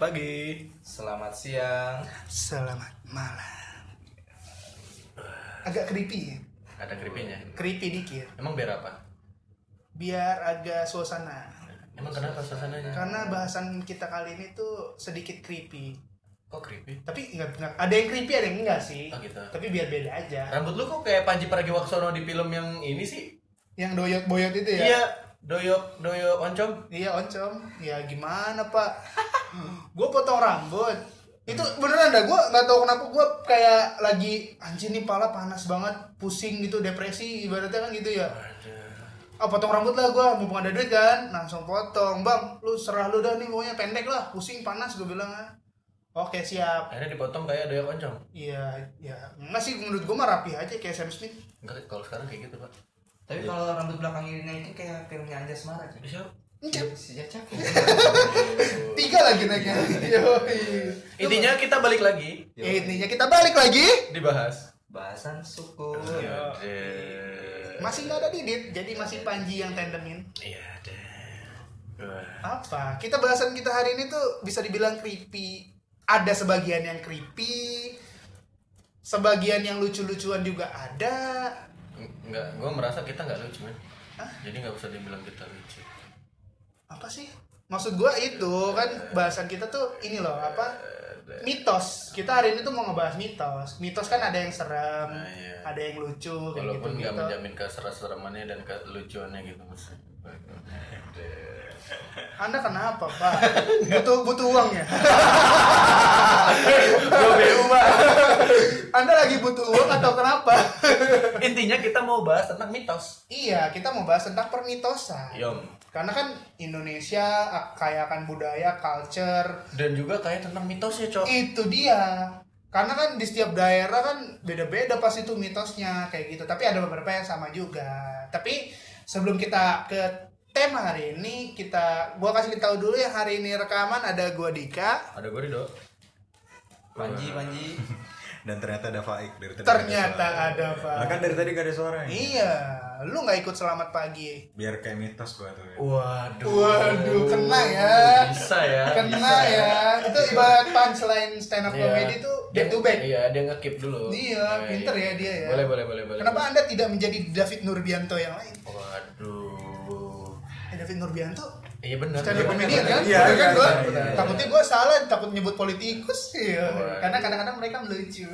pagi. Selamat siang. Selamat malam. Agak creepy ya? Ada keripiknya. Creepy dikit. Emang biar apa? Biar agak suasana. Emang kenapa suasananya? Karena bahasan kita kali ini tuh sedikit creepy. Kok keripik? Tapi nggak nggak- ada yang creepy ada yang enggak sih. Oh gitu. Tapi biar beda aja. Rambut lu kok kayak Panji Pragiwaksono di film yang ini sih? Yang doyot-boyot itu ya? Iya, doyok doyok oncom. Iya oncom. Ya gimana pak? gue potong rambut. Itu beneran dah gue nggak tahu kenapa gue kayak lagi anjir nih pala panas banget, pusing gitu, depresi ibaratnya kan gitu ya. Ah potong rambut lah gue, mumpung ada duit kan, langsung potong. Bang, lu serah lu dah nih pokoknya pendek lah, pusing panas gue bilang kan. Oke siap. Akhirnya dipotong kayak doyok oncom. Iya, ya enggak sih menurut gue mah rapi aja kayak Sam Smith. Enggak, kalau sekarang kayak gitu pak. Tapi kalau rambut belakang irinya itu kayak filmnya Anjas Mara Iya, sih. Bisa. Sejak cakep. Tiga lagi naiknya. Yoi. Intinya kita balik lagi Ya, intinya kita balik lagi. dibahas. Bahasan suku. Iya, Masih nggak ada Didit, jadi masih Panji yang tandemin. Iya deh. Apa? Kita bahasan kita hari ini tuh bisa dibilang creepy. Ada sebagian yang creepy, sebagian yang lucu-lucuan juga ada. Enggak, gue merasa kita nggak lucu men. Jadi nggak usah dibilang kita lucu. Apa sih? Maksud gua itu kan bahasan kita tuh ini loh apa? Eh, Mitos. Kita hari ini tuh mau ngebahas mitos. Mitos kan ada yang serem, Nah, iya. ada yang lucu, kayak gitu. Walaupun nggak gitu. menjamin keseram-seramannya dan kelucuannya gitu mas. Anda kenapa, Pak? butuh butuh uang ya? Gua BU, Pak. Anda lagi butuh uang atau kenapa? Intinya kita mau bahas tentang mitos. Iya, kita mau bahas tentang permitosan. Yom. Karena kan Indonesia ak- kaya akan budaya, culture, Dan juga kayak tentang mitosnya cok. itu dia. Karena kan di setiap daerah kan beda-beda pas itu mitosnya kayak gitu. Tapi ada beberapa yang sama juga. Tapi sebelum kita ke tema hari ini, kita gua kasih tahu dulu ya hari ini rekaman ada gua Dika. Ada gue Rido. Panji, Panji. Dan ternyata ada Faik dari tadi. Ternyata nggak ada suara. Lah Pak. Nah, kan dari tadi gak ada suaranya. Iya, lu nggak ikut selamat pagi. Biar kayak mitos gua tuh. Ya. Waduh. Waduh, kena ya. Bisa ya. Kena ya. Itu ibarat punchline stand up comedy itu back to back. Iya, dia nge-keep dulu. Iya, Nah, pinter ya dia ya. Boleh, boleh, boleh, boleh. Kenapa Anda tidak menjadi David Nurbianto yang lain? Waduh. Eh, David Nurbianto Iya benar. stand up Iya, comedian benar. kan? Iya, Kan iya, gua iya, iya, iya. takutnya gua salah takut nyebut politikus ya. Waduh. Karena kadang-kadang mereka lucu.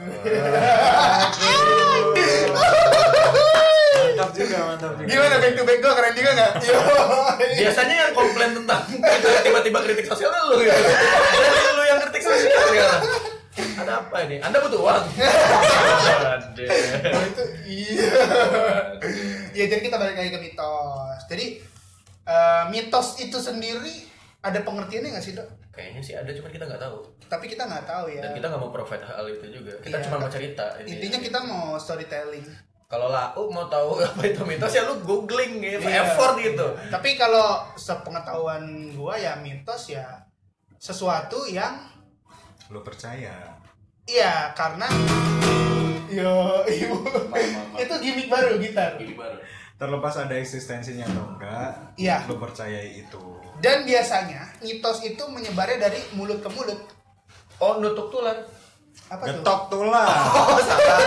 Mantap juga, mantap juga. Gimana back to back gua keren juga enggak? Yo. Biasanya yang komplain tentang kritik- tiba-tiba kritik sosial lu Iya. ya. Jadi lu yang kritik sosial sekarang. Ada apa ini? Anda butuh uang. Waduh. Oh, itu iya. ya jadi kita balik lagi ke mitos. Jadi eh, mitos itu sendiri ada pengertiannya nggak sih dok? Kayaknya sih ada, cuma kita nggak tahu. Tapi kita nggak tahu ya. Dan kita nggak mau provide hal itu juga. Kita Iya. cuma mau cerita. ini. Intinya kita mau storytelling. kalau lau mau tahu apa itu mitos ya lu googling gitu, Iya. effort gitu. Tapi kalau sepengetahuan gua ya mitos ya sesuatu yang Lu percaya? ya karena yo ibu itu gimmick baru gitar. Terlepas ada eksistensinya atau enggak, Iya. lu percayai itu. Dan biasanya mitos itu menyebarnya dari mulut ke mulut. Oh nutup tular. Apa tuh? Getok tulang. Oh salah.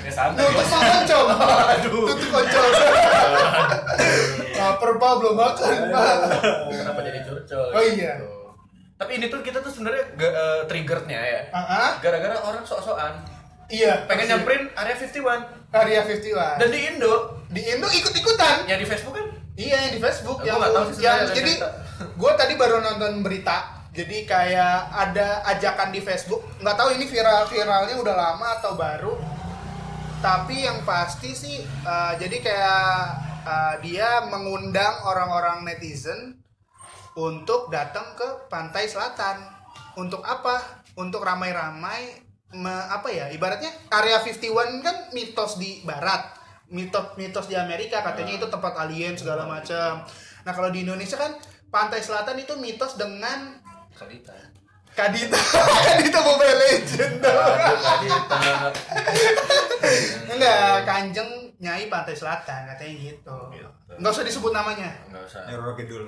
ya santai. Nutup sama oncom. Aduh. Tutup oncom. Laper pak belum makan pak. Kenapa jadi curcol? Oh, iya. gitu. Tapi ini tuh kita tuh sebenarnya ga- eh, triggernya ya. Ah, ah? Gara-gara orang sok-sokan Iya. pengen nyamperin area 51 Karya 51. dan di Indo di Indo ikut-ikutan. ya di Facebook kan Iya yang di Facebook Aku yang, nggak tahu sih yang sebenarnya jadi ternyata. gue tadi baru nonton berita jadi kayak ada ajakan di Facebook nggak tahu ini viral viralnya udah lama atau baru tapi yang pasti sih eh, jadi kayak eh, dia mengundang orang-orang netizen untuk datang ke pantai selatan untuk apa untuk ramai-ramai me- apa ya ibaratnya area 51 kan mitos di barat mitos mitos di Amerika katanya itu tempat alien segala macam nah kalau di Indonesia kan pantai selatan itu mitos dengan Kadita Kadita Kadita Mobile Legend Kadita enggak Kanjeng Nyai Pantai Selatan katanya gitu Gitu. nggak usah disebut namanya nggak usah Nyuruh dulu.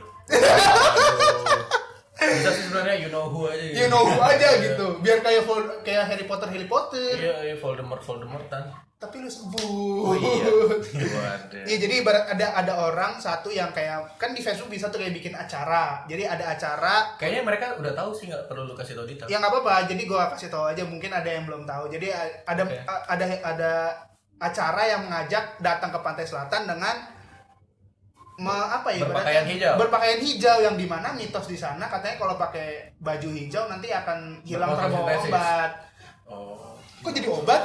bisa sih sebenarnya you know who aja gitu. you know who aja Iya. gitu biar kayak Vol- kayak Harry Potter Harry Potter iya iya Voldemort Voldemortan tapi lu sebut Oh, iya. waduh Iya jadi ibarat ada ada orang satu yang kayak kan di Facebook bisa tuh kayak bikin acara. Jadi ada acara kayaknya mereka udah tahu sih nggak perlu lu kasih tau detail yang Ya, nggak apa-apa. Jadi gua kasih tahu aja mungkin ada yang belum tahu. Jadi a- ada Oke. a- ada ada acara yang mengajak datang ke pantai selatan dengan me- apa ya Berpakaian ibaratnya? hijau. berpakaian hijau yang dimana mitos di sana katanya kalau pakai baju hijau nanti akan hilang terbawa Berkontrasintesis. obat oh kok jadi obat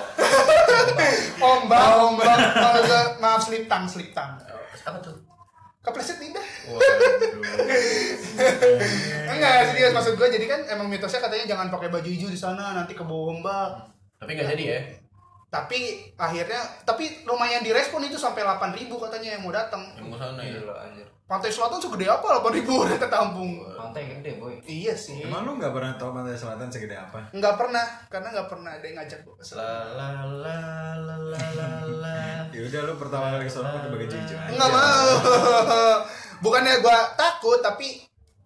ombak ombak Kalau ke- maaf slip tang slip tang Oh, apa tuh kepleset lidah waduh Enggak, serius maksud gue jadi kan emang mitosnya katanya jangan pakai baju hijau di sana nanti kebawa ombak. tapi nggak jadi ya Tapi akhirnya tapi lumayan direspon itu sampai 8000 katanya yang mau datang. yang ke sana ya Gila anjir. Pantai Selatan segede apa 8000 udah ketampung. Pantai gede boy. Iya sih. Emang lu nggak pernah tahu pantai selatan segede apa? Enggak pernah karena enggak pernah ada yang ngajak gue. la la la la la la la Ya udah lu pertama kali kesana pakai baju hijau aja. Enggak mau. Bukannya gue takut tapi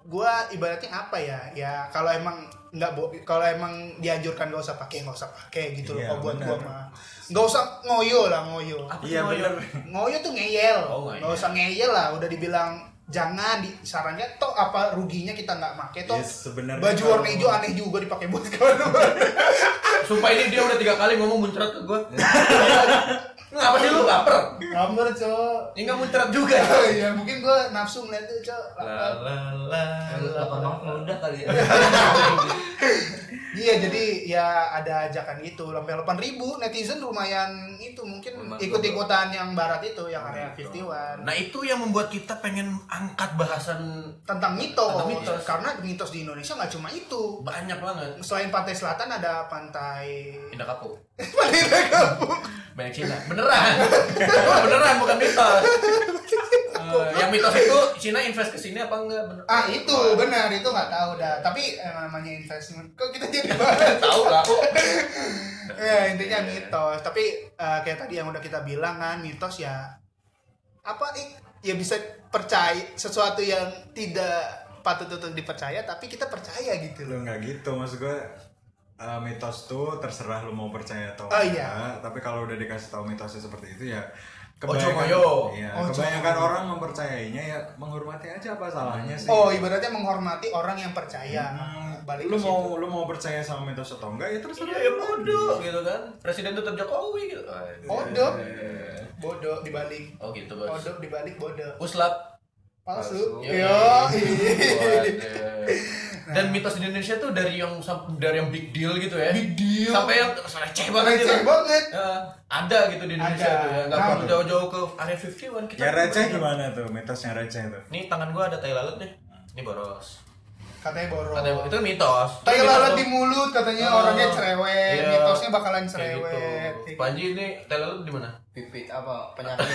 gue ibaratnya apa ya? Ya kalau emang nggak bo- kalau emang dianjurkan gak usah pakai nggak usah pakai gitu Iya, loh. Kalau buat benar. gue mah nggak usah ngoyo lah ngoyo. Iya bener. ngoyo tuh ngeyel Oh, ngeyel. nggak usah ngeyel lah udah dibilang jangan di, sarannya toh apa ruginya kita nggak make toh Yes, sebenarnya baju kalau- warna hijau aneh juga dipakai buat kawan sumpah ini dia udah tiga kali ngomong muncrat ke gue ngapa sih lu lapar Kamar cok ini nggak muncrat juga ya mungkin gua nafsu ngeliat tuh cok la la la Kalau la Eh, apa banget udah kali ya. iya jadi ya ada ajakan gitu sampai delapan ribu netizen lumayan itu mungkin Lumayan ikut-ikutan yang barat itu yang area Betul. 51 Nah itu yang membuat kita pengen angkat bahasan tentang mitos, Tentang mitos. karena mitos di Indonesia nggak cuma itu banyak banget. selain pantai selatan ada pantai Pindah kapuk. pantai Tangkuban. Banyak Cina. Beneran. Beneran bukan mitos. Eh, yang mitos itu Cina invest ke sini apa enggak? Bener. Ah itu benar itu nggak tahu dah. Tapi eh, namanya investment kok kita jadi bahas. Tahu lah kok. ya intinya mitos. Tapi eh, kayak tadi yang udah kita bilang kan mitos ya apa eh, ya bisa percaya sesuatu yang tidak patut untuk dipercaya tapi kita percaya gitu Lu loh. nggak gitu maksud gue eh, mitos tuh terserah lu mau percaya atau Oh, iya. enggak. Tapi kalau udah dikasih tahu mitosnya seperti itu ya Ojo kebanyakan, ngoyo. Iya, Ojo kebanyakan ngoyo. orang mempercayainya ya menghormati aja apa salahnya sih. Oh iya ibaratnya menghormati orang yang percaya. Balik lu ke mau situ. lu mau percaya sama mitos atau enggak ya terserah. Iya ya bodoh gitu kan. Presiden tetap Jokowi gitu. Eh, Bodoh. Bodoh dibalik. Oh gitu bos. Bodoh dibalik bodoh. Uslap. Palsu. Palsu. Yo. iya. Waduh. Dan mitos di Indonesia tuh dari yang sam- dari yang big deal gitu ya. Big deal. Sampai yang receh banget gitu. Receh banget. Eh, ada gitu di Indonesia Ada. tuh ya. Nggak Nah, perlu jauh-jauh ke area 51 Iya. kita. Ya receh gimana tuh mitosnya receh tuh. Nih tangan gua ada tai lalat nih. Ini boros. Katanya boros. Katanya itu mitos. Tai Itu lalat mitos. di mulut katanya Oh. orangnya cerewet, Iya. mitosnya bakalan Kayak cerewet. Gitu. Panji ini tai lalat di mana? Pipi apa penyakit.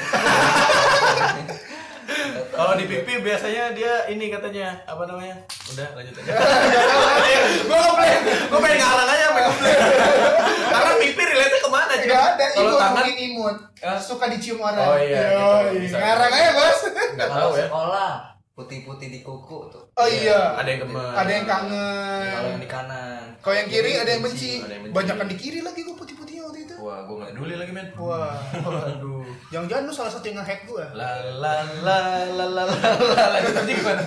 Kalau di pipi biasanya dia ini katanya apa namanya? Udah lanjut aja. Gua ngeblend. Gue pengen ngarang aja pengen ngeblend. Karena pipi relate kemana cuy? Enggak ada Kalau imut tangan mungkin imut. Ya. Suka dicium orang. Oh, iya, gitu. Yoi. Bisa. Ngarang aja, Bos. nggak tahu Kalau ya. sekolah putih-putih di kuku tuh. Oh iya. Ada yang gemes. Ada yang kangen. Kalau yang di kanan. Kalau yang kiri ada yang benci. ada yang benci. Banyakan di kiri lagi gua putih-putihnya waktu itu. Wah, gue nggak peduli lagi men. Wah. Waduh. Jangan-jangan lu salah satu yang nge-hack gua. La la la la la la la lanjut aja gimana?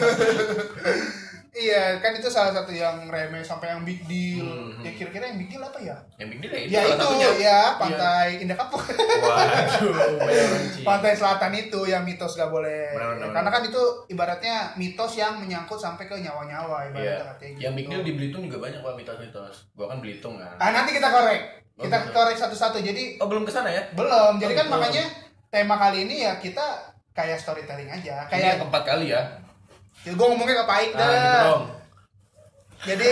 Iya, kan itu salah satu yang remeh sampai yang big deal. Ya kira-kira yang big deal apa ya? Yang big deal Ya Hmm, salah itu, satunya. Iya. ya pantai Indah Kapuk. Waduh, banyak benci. Pantai Selatan itu yang mitos gak Iya. boleh. Benar, benar, Karena benar. kan itu ibaratnya mitos yang menyangkut sampai ke Iya. nyawa-nyawa ibaratnya katanya Yang big gitu. deal di Belitung juga banyak pak mitos-mitos. Gua kan Belitung kan. Ah nanti kita korek. Oh, Kita gitu. korek satu-satu. Jadi Oh belum kesana ya? belum. Jadi kan Belum. makanya tema kali ini ya kita kayak storytelling aja. Ini yang Kayak keempat kali ya. ya, gue ngomongnya ke Pak Aik Nah, gitu dah. dong. Jadi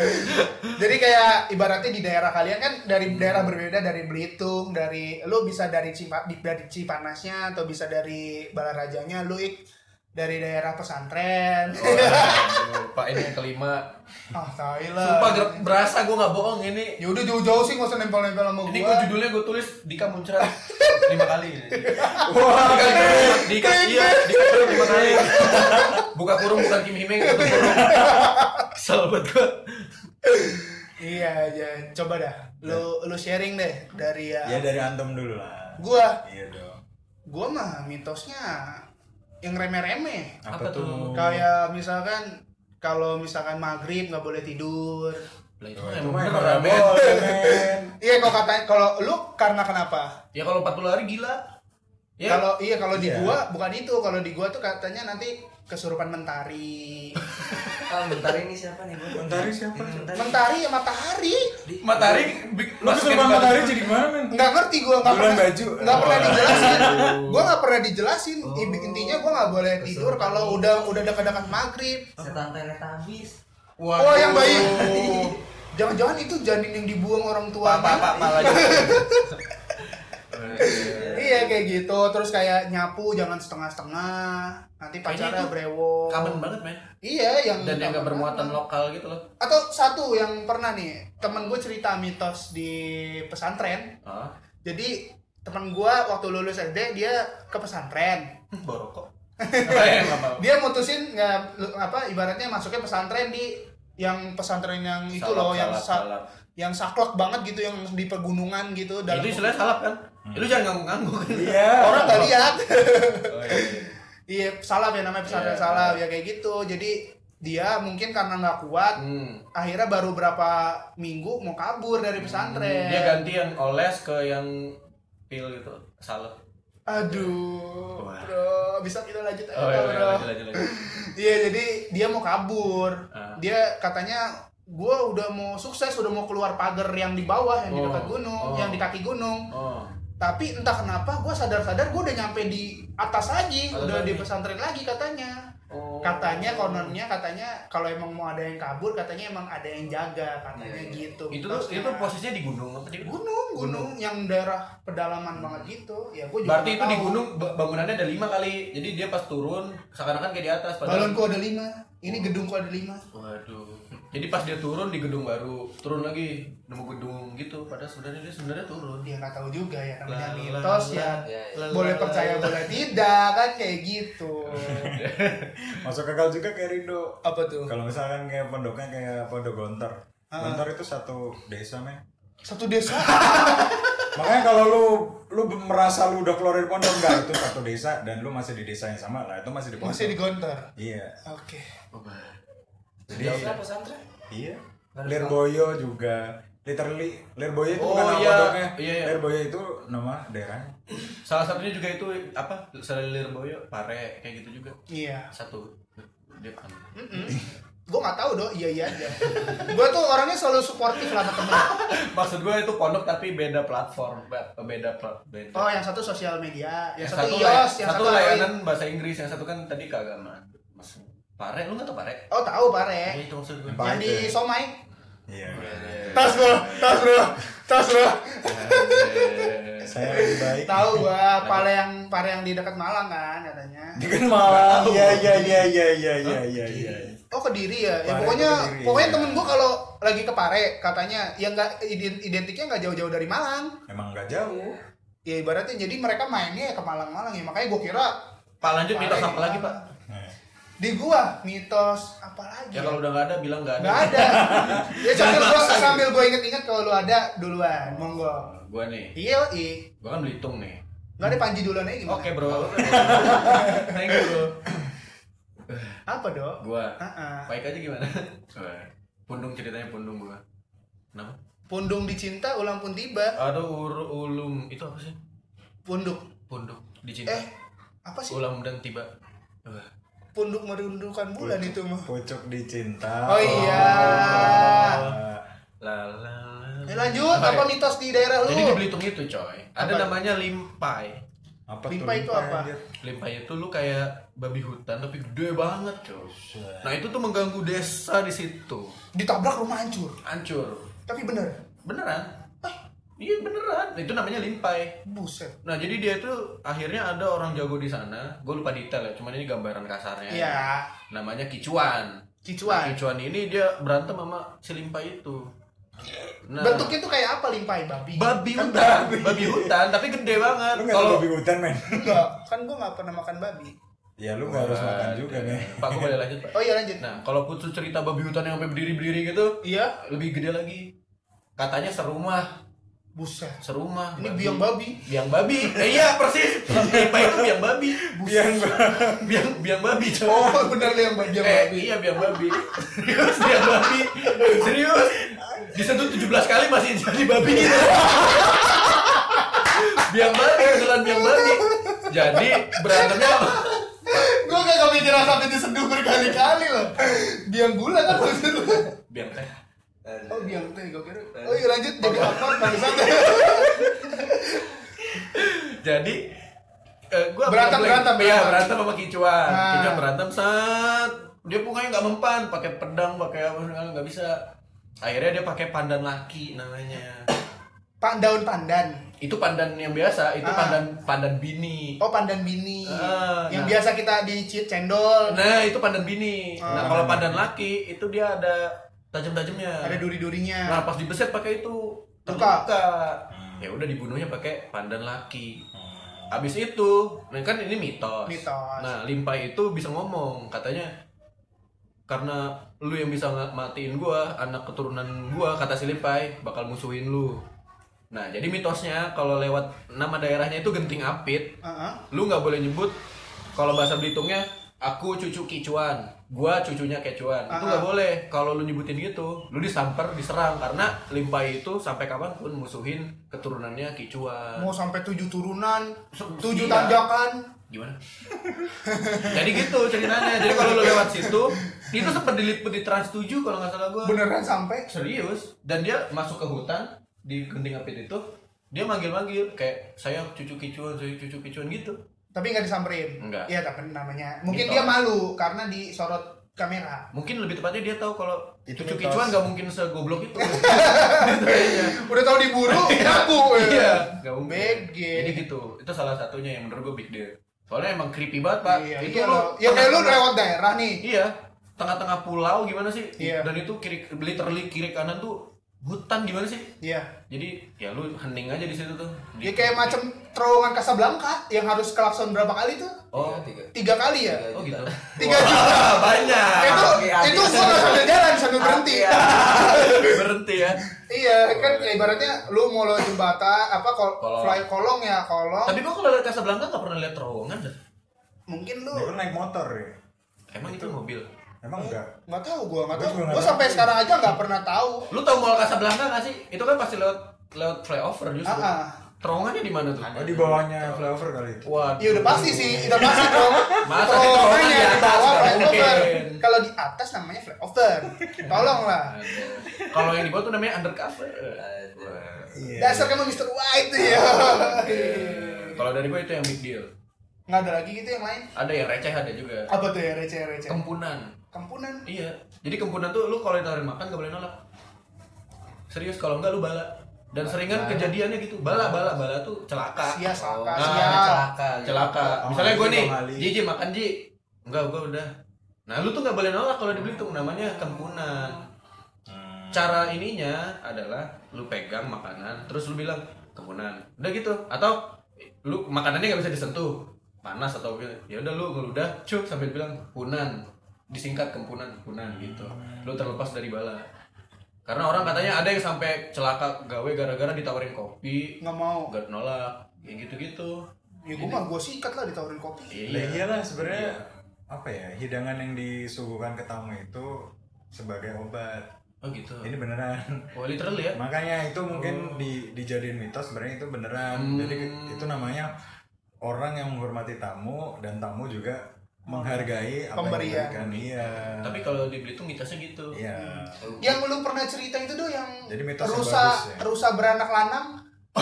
jadi kayak ibaratnya di daerah kalian kan dari daerah berbeda dari Belitung, dari lu bisa dari Cipa, di- dari Cipanasnya atau bisa dari Balarajanya, lu Ik, dari daerah pesantren. iya, Oh. Lupa ini yang kelima. ah, tai lah. Sumpah ger- berasa gue nggak bohong ini. Ya udah jauh-jauh sih nggak usah nempel-nempel sama gua. Ini gue judulnya gue tulis Dika muncrat lima kali. Wah, Dika, Dika- Dika, iya, Dika muncrat lima kali. Buka kurung bukan Kim Himeng, buka kurung. Kesel banget gue. Iya, Jan. Coba dah. Lu lu sharing deh dari ya. ya dari antum dulu lah Gua iya dong gua mah mitosnya yang remeh-remeh. apa, Apa tuh, tuh? Kayak misalkan kalau misalkan maghrib nggak boleh tidur. Lah itu mah Wah, itu emang mah bener lah, emang nggak men. boleh, men. Iya, kalau katanya kalau lu karena kenapa? Ya kalau 40 hari gila. Ya. Kalau iya kalau di Iya. gua bukan itu, kalau di gua tuh katanya nanti kesurupan mentari. Ah, bentar ini siapa nih? Gua- Mentari siapa? Ini Mentari. mentari ya matahari. Di- matahari kan lu kesurupan matahari jadi gimana men nggak ngerti gue nggak Bulan pernah baju. nggak pernah Oh. dijelasin gue nggak pernah dijelasin Ibi- Oh. intinya gue nggak boleh tidur Keserupan. kalau udah udah dekat-dekat maghrib Setan Teletubbies. Waduh. oh yang baik jangan-jangan itu janin yang dibuang orang Pak, tuanya pak, pak, malah juga. iya kayak gitu terus kayak nyapu jangan setengah-setengah nanti pacarnya Kayaknya itu brewok Kamen banget, men. iya yang Dan yang gak bermuatan lokal gitu loh. atau satu yang pernah nih temen gue cerita mitos di pesantren Ah, jadi temen gue waktu lulus SD dia ke pesantren borokok. Eh, nggak apa-apa. dia mutusin nggak apa ibaratnya masuknya pesantren di yang pesantren yang itu Salak, loh yang salak, sa- salak. yang saklak banget gitu yang di pegunungan gitu Itu istilahnya salap kan? Itu jangan ngangguk-ngangguk. iya orang nggak lihat Oh, iya, iya. iya salap ya namanya pesantren Iya. salap ya kayak gitu jadi dia mungkin karena nggak kuat Hmm. akhirnya baru berapa minggu mau kabur dari pesantren Dia ganti yang oles ke yang pil gitu, salep. aduh Wah. bro bisa kita lanjut aja Oh iya, bro iya, lanjut, lanjut, lanjut. Iya jadi dia mau kabur. Ah. Dia katanya gue udah mau sukses, udah mau keluar pagar yang di bawah, yang di Oh, dekat gunung, oh. yang di kaki gunung. Oh. Tapi entah kenapa gue sadar-sadar gue udah nyampe di atas lagi, Atas udah di lagi. pesantren lagi katanya. Oh. Katanya kononnya katanya kalau emang mau ada yang kabur katanya emang ada yang jaga katanya Iya, iya. gitu. itu tuh Mitosnya. itu posisinya di gunung apa di gunung, gunung yang daerah pedalaman banget gitu. Ya gue juga. Berarti itu nggak di tahu. gunung ba- bangunannya ada lima kali. Jadi dia pas turun seakan-akan kayak di atas padahal. Balonku ada lima, ini gedungku ada lima. Waduh. Jadi pas dia turun di gedung baru, turun lagi nemu gedung gitu. Padahal sebenarnya dia sebenarnya turun. Iya, dia nggak tahu juga ya namanya Lah, mitos lah, ya lah. Ya, ya. boleh Lah, percaya lah, boleh tidak kan kayak gitu masuk akal juga kayak Rindo apa tuh kalau misalkan kayak pondoknya kayak pondok Gontor Gontor itu satu desa men satu desa makanya kalau lu lu merasa lu udah keluar dari pondok enggak itu satu desa dan lu masih di desa yang sama lah itu masih di pondok masih digontor iya oke Oh, jadi Jauh pesantren? iya Lirboyo juga literally Lirboyo itu Oh, bukan nama iya. pondoknya Iya, iya. Lirboyo itu nama daerahnya Salah satunya juga itu apa? Selir boyo, pare kayak gitu juga. iya Satu. Dia kan. Hmm? gue nggak tahu dong iya iya aja gue tuh orangnya selalu suportif lah sama temen Maksud gue itu pondok tapi beda platform, Ba- beda pla- beda. oh yang satu sosial media yang, lay- satu, ios yang satu satu, lain layanan bahasa Inggris, yang satu kan tadi keagamaan. Mas, pare, lu nggak tau pare? oh tahu pare Ya, itu maksud gue. Pare. yang di somai iya tas bro tas bro tas bro Eh, saya lebih baik tahu gua pare yang pare yang di dekat Malang kan katanya Dia kan malam iya iya iya iya iya iya iya iya Oh Kediri ya, ya Pare pokoknya ke Kediri, pokoknya ya. temen gua kalau lagi ke Pare katanya ya nggak ident- identiknya nggak jauh-jauh dari Malang. emang nggak jauh Ya ibaratnya jadi mereka mainnya ya ke Malang-Malang ya makanya gua kira Pak lanjut Pare mitos di apa lagi Malang. pak? Nah. Di gua mitos apa lagi? Ya kalau udah nggak ada bilang nggak ada. nggak ada. ya Jangan sambil gua maksa gitu. sambil gua inget-inget kalau lu ada duluan, monggo. Gua nih, Iya, i. gua kan Belitung nih. Nggak ada Panji duluan aja gimana? Oke bro. Thank you bro. Apa dong? Gua Ah, ah. baik aja gimana? Eh, Pundung ceritanya pundung gua. Kenapa? Pundung dicinta ulang pun tiba. Atau ur- ulum itu apa sih? Punduk. Pundung dicinta. Eh, apa sih? Ulam dan tiba. Wah. Punduk merundukkan bulan itu mah. pucuk dicinta Oh iya. La, la, la. Ya, lanjut apa mitos di daerah lu? Jadi di Belitung itu coy, ada Apa? namanya limpai. apa Limpa itu apa? anjir? Limpai itu lu kayak babi hutan tapi gede banget coy. Nah itu tuh mengganggu desa di situ. ditabrak rumah hancur Hancur. tapi bener Beneran? eh Iya beneran. Itu namanya limpai. Buset. Nah jadi dia tuh akhirnya ada orang jago di sana. Gue lupa detail ya. Cuman ini gambaran kasarnya. Iya, Namanya Kicuan. Nah, kicuan. Kicuan ini dia berantem sama si limpai itu. Nah, Bentuknya tuh kayak apa limpai babi? babi Kan hutan, babi. babi hutan, tapi gede banget. Lu nggak tahu Kalau babi hutan men? Enggak, kan gua nggak pernah makan babi. Ya lu nggak harus makan juga men. Nah, Pak, gue boleh lanjut Pak. Oh iya lanjut. Nah, kalau putus cerita babi hutan yang sampai berdiri-berdiri gitu, Iya, lebih gede lagi. Katanya serumah, buset. serumah. Ini biang babi. biang babi. Eh, iya, persis. Limpai itu biang babi. Biang Biang biang babi. coy. Oh, bener yang babi yang Eh, babi. iya biang babi. Serius biang babi. Serius. Disentuh 17 kali masih jadi babi gitu. biang babi, kebetulan biang babi. Jadi berantemnya sama- Gua gak kepikiran sampai diseduh berkali-kali loh. Biang gula kan maksud lu. biang teh. Oh, biang teh gua kira. Oh iya lanjut jadi apa bangsat. Jadi eh, gua Berantem, blank. berantem, ya? Iya, berantem. berantem sama kicuan. Nah. Kicuan berantem saat dia pokoknya nggak mempan, pakai pedang, pakai apa segala, nggak bisa. Akhirnya dia pakai pandan laki namanya. Pak daun pandan. Itu pandan yang biasa, itu Ah. pandan pandan bini. Oh, pandan bini. Ah, yang nah. biasa kita di ci- cendol. Nah, itu pandan bini. Nah, Ah. kalau pandan laki itu dia ada tajam-tajamnya. Ada duri-durinya. Nah, pas dibeset pakai itu Luka. terluka. Ya udah dibunuhnya pakai pandan laki. Habis itu, nah kan ini mitos. Mitos. Nah, limpai itu bisa ngomong, katanya karena lu yang bisa nge- matiin gua, anak keturunan gua kata si limpai bakal musuhin lu. Nah, jadi mitosnya kalau lewat nama daerahnya itu genting apit, Heeh. lu nggak boleh nyebut kalau bahasa Belitungnya aku cucu kicuan gua cucunya kecuan itu nggak boleh kalau lu nyebutin gitu lu disamper diserang karena limpai itu sampai kapanpun musuhin keturunannya kicuan Mau sampai tujuh turunan, Se- tujuh iya. tanjakan. gimana jadi gitu ceritanya jadi kalau lu lewat situ itu sempat diliput di trans 7 kalau nggak salah gua Beneran sampai serius dan dia masuk ke hutan di genting apit itu dia manggil-manggil kayak saya cucu kicuan saya cucu kicuan gitu tapi nggak disamperin Nggak. Gitu. iya tapi namanya mungkin Mitos. dia malu karena disorot kamera mungkin lebih tepatnya dia tahu kalau Itu cucu mitos. kicuan gak mungkin segoblok itu udah tahu diburu nyabu iya gak mungkin Bege. jadi gitu itu salah satunya yang menurut gue big deal soalnya emang creepy banget pak iya itu iya lu loh. ya kayak lu tengah-tengah- lewat daerah nih iya tengah-tengah pulau gimana sih Iya. dan itu kiri literally kiri kanan tuh hutan gimana sih iya jadi ya lu hening aja di situ tuh ya kayak macam terowongan Casablanca yang harus klakson berapa kali tuh oh tiga. tiga kali ya oh gitu tiga juta Wah, banyak itu Iya. api. itu gua nggak sambil jalan Ah, sambil berhenti iya. berhenti ya iya kan ya ibaratnya lu mau lewat jembatan apa kol Kolong. fly kolong ya kolong tapi gua kalau lihat Casablanca nggak pernah lihat terowongan dah. mungkin Ya, lu lu naik motor ya? emang itu mobil Emang enggak? nggak tahu gua nggak Gua tahu juga nggak gua sampai tahu. sekarang aja nggak pernah tahu Lu tau Mall Casablanca gak sih? Itu kan pasti lewat lewat flyover justru. Ah, ah. Terowongannya di mana tuh? Oh di bawahnya flyover kali. ya? Wah. Iya udah pasti sih, udah pasti dong. Masa Kalau sih terowongan di orangnya di atas, kan? bawah nggak flyover. mungkin. Kalau di atas namanya flyover. Tolonglah. Kalau yang di bawah tuh namanya undercover. Iya. Dasar kamu Mr. White ya. Eh, Kalau dari gue itu yang big deal. Nggak ada lagi gitu yang lain. Ada yang receh ada juga. Apa tuh ya receh receh? Kempunan. Kempunan. Iya. Jadi kempunan tuh lu kalau ditawarin makan gak boleh nolak. Serius kalau enggak lu bala. Dan seringan kejadiannya gitu. Bala bala bala tuh celaka. Sia saka nah, sia. celaka gitu. celaka. Oh, Misalnya gue Bang nih, Ali. Ji, Ji makan Ji. Enggak, gue udah. Nah, lu tuh nggak boleh nolak kalau di Belitung namanya kempunan. Hmm. Cara ininya adalah lu pegang makanan, terus lu bilang kempunan. Udah gitu. Atau lu makanannya nggak bisa disentuh, panas atau ya udah lu ngeludah, cuk sambil bilang punan. Disingkat kempunan, punan Hmm. gitu. Lu terlepas dari bala. Karena orang katanya ada yang sampai celaka gawe gara-gara ditawarin kopi, Nggak mau. nggak nolak, ya gitu-gitu. Ya gua mah gua sikat lah ditawarin kopi. Iya. Lah iya. iyalah sebenarnya apa ya hidangan yang disuguhkan ke tamu itu sebagai obat. Oh gitu. Ini beneran. Oh literally ya? Makanya itu mungkin di, dijadiin mitos sebenarnya itu beneran. Jadi itu namanya orang yang menghormati tamu dan tamu juga menghargai apa Pemberian. yang diberikan. Iya. Tapi kalau di Belitung mitosnya gitu. Iya. Yang lu pernah cerita itu tuh yang Jadi mitos yang bagus rusa ya. rusa beranak lanang.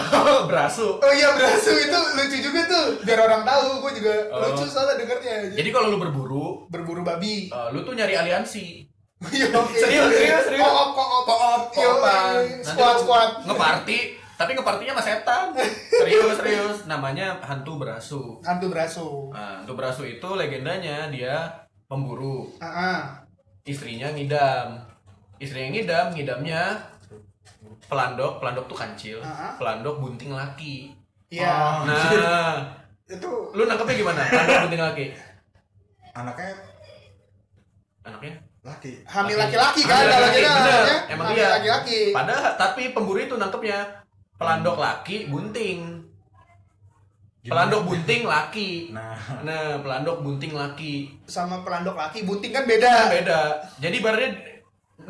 Berasu. Oh iya berasu itu lucu juga tuh. Biar orang tahu, gua juga Oh. lucu soalnya dengernya. Jadi kalau lu berburu, Berburu babi. eh, lu tuh nyari aliansi. Iya, oke. Serius, serius, serius. Koop, koop, koop. Koopan. Iya, Squad, lu squad. Ngeparty, Tapi ngepartinya sama setan. Serius, serius. Namanya hantu berasu. hantu berasu Nah, hantu berasu itu legendanya dia pemburu. ah ah. Istrinya ngidam. Istrinya ngidam, ngidamnya pelandok, pelandok tuh kancil. Ah. Pelandok bunting laki. Oh. iya Nah, itu lu nangkepnya gimana? Pelandok bunting laki. anaknya Anaknya? laki hamil laki-laki kan Hamil kalau laki-laki, kita bener. namanya Emang hamil iya. laki-laki Padahal tapi pemburu itu nangkepnya pelandok laki bunting. Pelandok bunting laki. nah Nah, pelandok bunting laki. sama pelandok laki bunting kan Kan beda beda. Jadi ibaratnya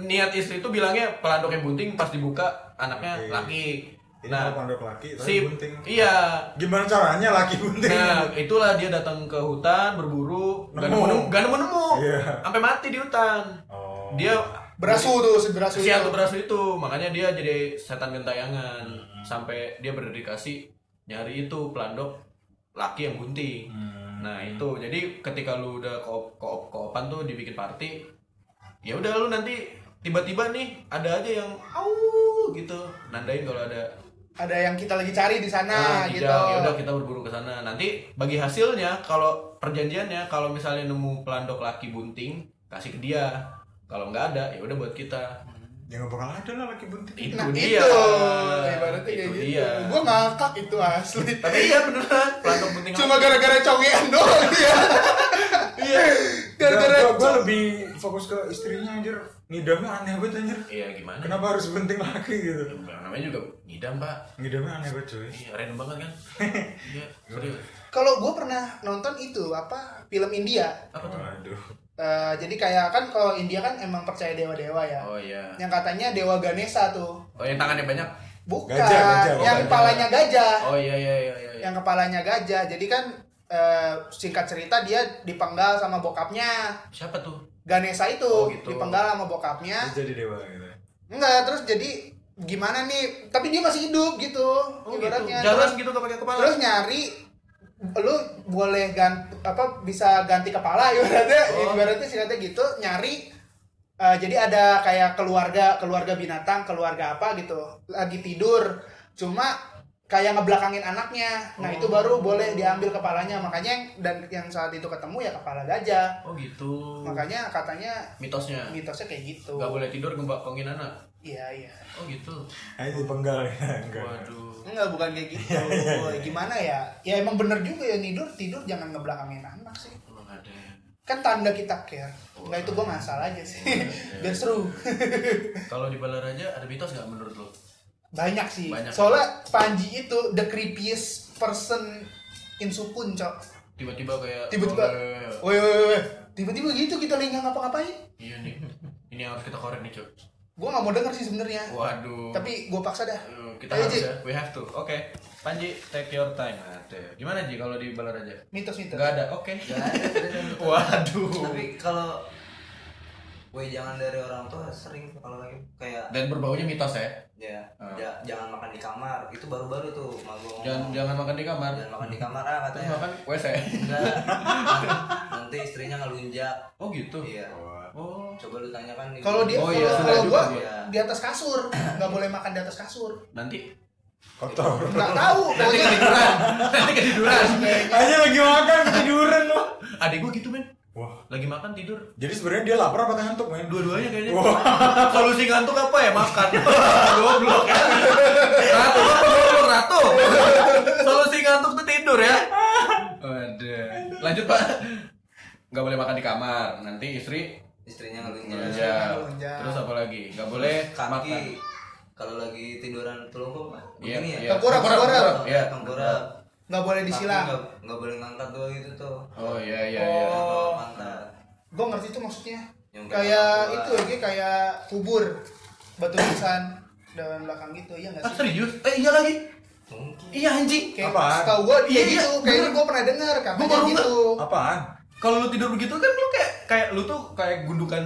niat istri itu bilangnya pelandok yang bunting pas dibuka anaknya Oke. laki. ini Nah, nah, pondok laki tapi si bunting iya. gimana caranya laki bunting Nah, itulah dia datang ke hutan berburu, gak Nemu. nemu, gak nemu, nemu. Iya. Sampai mati di hutan. oh Dia berasu tuh si berasu si hantu itu. berasu itu makanya dia jadi setan gentayangan Hmm. sampai dia berdedikasi nyari itu pelandok laki yang gunting Hmm. nah itu jadi ketika lu udah koop koop koopan tuh dibikin party ya udah lu nanti tiba-tiba nih ada aja yang au gitu nandain kalau ada ada yang kita lagi cari di sana tidak gitu ya udah kita berburu ke sana nanti bagi hasilnya kalau perjanjiannya kalau misalnya nemu pelandok laki bunting kasih ke dia kalau nggak ada ya udah buat kita ya nggak bakal ada lah laki bunting itu nah dia itu ibaratnya itu kayak gitu dia gue ngakak itu asli tapi iya beneran pelandok penting cuma gara-gara congean doang ya iya gara-gara Gua- gua- gua lebih fokus ke istrinya anjir ngidamnya aneh banget anjir iya gimana kenapa harus bunting laki gitu namanya juga ngidam pak ngidamnya aneh banget cuy iya random banget kan iya serius kalau gue pernah nonton itu apa film India apa tuh waduh Eh, jadi kayak kan kalau India kan emang percaya dewa-dewa ya oh iya yang katanya dewa Ganesha tuh oh yang tangannya banyak bukan Gajah, gajah, oh, yang gajah. kepalanya gajah oh iya iya iya iya yang kepalanya gajah jadi kan eh, singkat cerita dia dipenggal sama bokapnya siapa tuh Ganesha itu Oh, gitu. dipenggal sama Ya? bokapnya Terus jadi dewa gitu enggak terus jadi gimana nih tapi dia masih hidup gitu oh gitu ibaratnya jalan terus, gitu gak pakai kepala terus nyari lu boleh ganti apa bisa ganti kepala ibaratnya Oh. ibaratnya singkatnya gitu nyari eh, jadi ada kayak keluarga keluarga binatang keluarga apa gitu lagi tidur cuma kayak ngebelakangin anaknya nah itu Oh. baru boleh diambil kepalanya makanya yang, dan yang saat itu ketemu ya kepala gajah oh gitu makanya katanya mitosnya mitosnya kayak gitu gak boleh tidur ngebakongin anak iya iya oh gitu ayo dipenggal ya enggak waduh Enggak, bukan kayak gitu. Iya, Gimana ya? Ya emang bener juga ya tidur tidur jangan ngebelakangin anak sih. emang ada Kan tanda kita care. Oh, Enggak itu gua ngasal aja sih. iya, Biar seru. kalau di Balaraja ada mitos gak menurut lo Banyak sih. Banyak. Soalnya Panji itu the creepiest person in Sukun, Cok. tiba-tiba kayak Tiba-tiba. Oh, iya, iya. Woi, woi, woi. Tiba-tiba gitu kita lagi nggak ngapa-ngapain. Iya nih, ini yang harus kita korek nih cuy. Gua nggak mau denger sih sebenarnya. Waduh. Tapi gua paksa dah. Aduh, kita Ayo, harus Ji. ya. We have to. Oke. Panji, take your time. Nah, tuh. Gimana Ji kalau di Balaraja? Mitos-mitos. Enggak ada. Oke. Nggak ada, tidak ada. Waduh. tapi kalau Woi jangan dari orang tua sering kalau lagi kayak Dan berbaunya mitos ya. ya, Ah. ja- jangan makan di kamar itu baru-baru tuh mak gua ngomong. Jangan jangan makan di kamar. Jangan makan di kamar ah Terus katanya makan WC. Enggak. nanti istrinya ngelunjak Oh gitu. iya Oh. coba lu kan tanyakan di Kalau dia Oh, iya, kalau sudah kalau juga gua gua. di atas kasur, nggak boleh makan di atas kasur. Nanti kotor Nggak tahu. nanti pokoknya- ketiduran. nanti ketiduran. aja lagi makan ketiduran lo Adik gua gitu, men. wah Lagi makan tidur. jadi sebenarnya dia lapar apa ngantuk men Dua-duanya kayaknya. Wah. Solusi ngantuk apa ya? Makan. Goblok ya. Ratu, goblok ratu. Solusi ngantuk tuh tidur ya. Ada. Lanjut Pak. Nggak boleh makan di kamar. Nanti istri istrinya ngelunjak ngelunjak. Iya. ngelunjak. Terus apa lagi? Nggak boleh Iya. makan. kaki kalau lagi tiduran telungkup Pak. Iya, Begini iya. ya Tengkurap, tengkurap. Iya. tengkurap Nggak boleh Kaki disilang. nggak- nggak boleh ngangkat doang gitu tuh Oh iya iya iya. Kalau pantat. gue ngerti itu maksudnya Yang kayak belakang itu doang. ya Ki, kayak kubur batu nisan dan belakang gitu ya nggak Ah, sih serius? Eh iya lagi. mungkin Iya anjing. kayak Apaan? setahu gue Iya, iya, iya, itu kayaknya gue pernah dengar katanya baru gitu apaan Kalau lu tidur begitu kan lu kayak kayak lu tuh kayak gundukan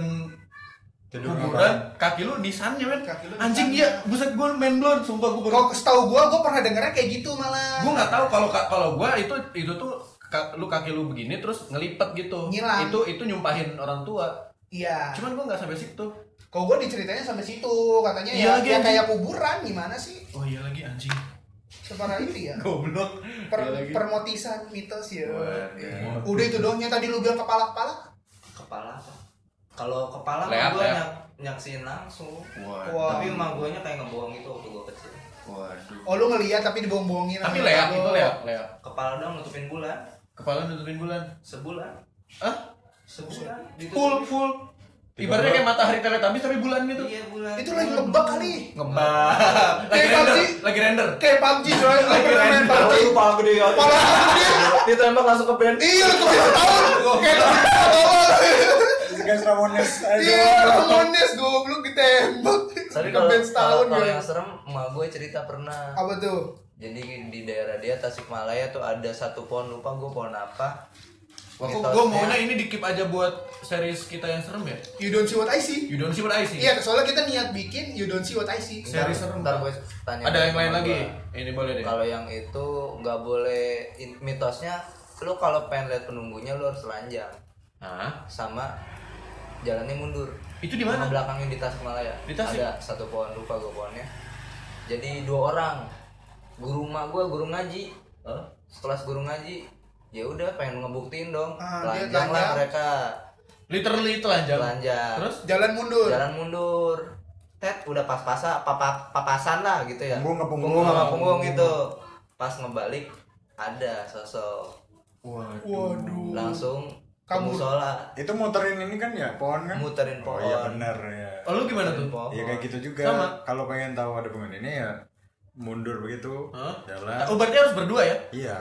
Tidur kuburan, kaki lu di sannya men. Kaki lu di Anjing sannya. iya, buset gua main blon, sumpah gua baru kok setahu gue gue pernah dengarnya kayak gitu malah gue nggak tahu kalau ka- kalau gue itu itu tuh ka- lu kaki lu begini terus ngelipet gitu Nyilang. itu itu nyumpahin orang tua iya cuman gue nggak sampai situ Kalau gue diceritanya sampai situ, katanya Iya ya, lagi, ya anjing. kayak kuburan gimana sih? Oh iya lagi anjing. Separah itu ya. Goblok. Per, Iya lagi. iya. permotisan mitos ya. Waduh. Udah itu doang yang tadi lu bilang kepala-kepala. kepala apa? Kalau kepala Leat, gue leat. nyaksiin langsung. Waduh. Wah. Tapi emak gue kayak ngebohong gitu waktu gue kecil. Waduh. Oh lu ngeliat tapi dibohong-bohongin. Tapi sama leak tetangga. itu leak, leak. Kepala doang nutupin bulan, Kepala nutupin bulan. sebulan, Ah, sebulan. Gitu full full. Ibaratnya kayak matahari teletabis tapi bulan gitu. Iya bulan. Itu lagi lebak kali. Ngebak. Lagi Kayak render, PUBG. lagi render. Kayak PUBG coy, lu Lagi pernah main random. PUBG. kepala gede ya. Kepala lu gede. Ditembak langsung ke band. Iya, lu kepala tahun. Kayak kepala tahun. Guys Ramones Iya, aja. Ramones goblok ditembak. Tapi kalau Ngeband setahun kalau- kalau ya. yang serem, emak gue cerita pernah. Apa tuh? Jadi di daerah dia Tasikmalaya tuh ada satu pohon lupa gue pohon apa. Wah, kok Mitosnya- gue maunya ini dikip aja buat series kita yang serem ya. You don't see what I see. You don't see what I see. Iya, soalnya kita niat bikin You don't see what I see. Seri serem. Ntar gue Ada tanya. dulu yang lain sama lagi? gua. Ini boleh deh. Kalau yang itu nggak boleh in- mitosnya lu kalau pengen lihat penunggunya lu harus telanjang Hah? sama jalannya mundur. Itu di mana? Sama belakangnya di Tasikmalaya. Di Tasik? Ada satu pohon lupa gue pohonnya. Jadi dua orang guru ma gue guru ngaji. Sekelas guru ngaji. Ya udah pengen ngebuktiin dong. Ah, dia telanjang lah telanjang. mereka. Literally telanjang. Telanjang. Terus? Jalan mundur. jalan mundur tet udah pas pasan papa papasan lah gitu ya Punggung ke punggung. sama punggung gitu pas ngebalik ada sosok Waduh. langsung Kabur. kamu sholat Itu muterin ini kan ya pohon kan? muterin Oh pohon iya benar ya. Oh, lu gimana tuh? pohon Ya kayak gitu Sama. juga. Kalau pengen tahu ada pemain ini ya mundur begitu Hah? jalan. Oh, berarti harus berdua ya? Iya,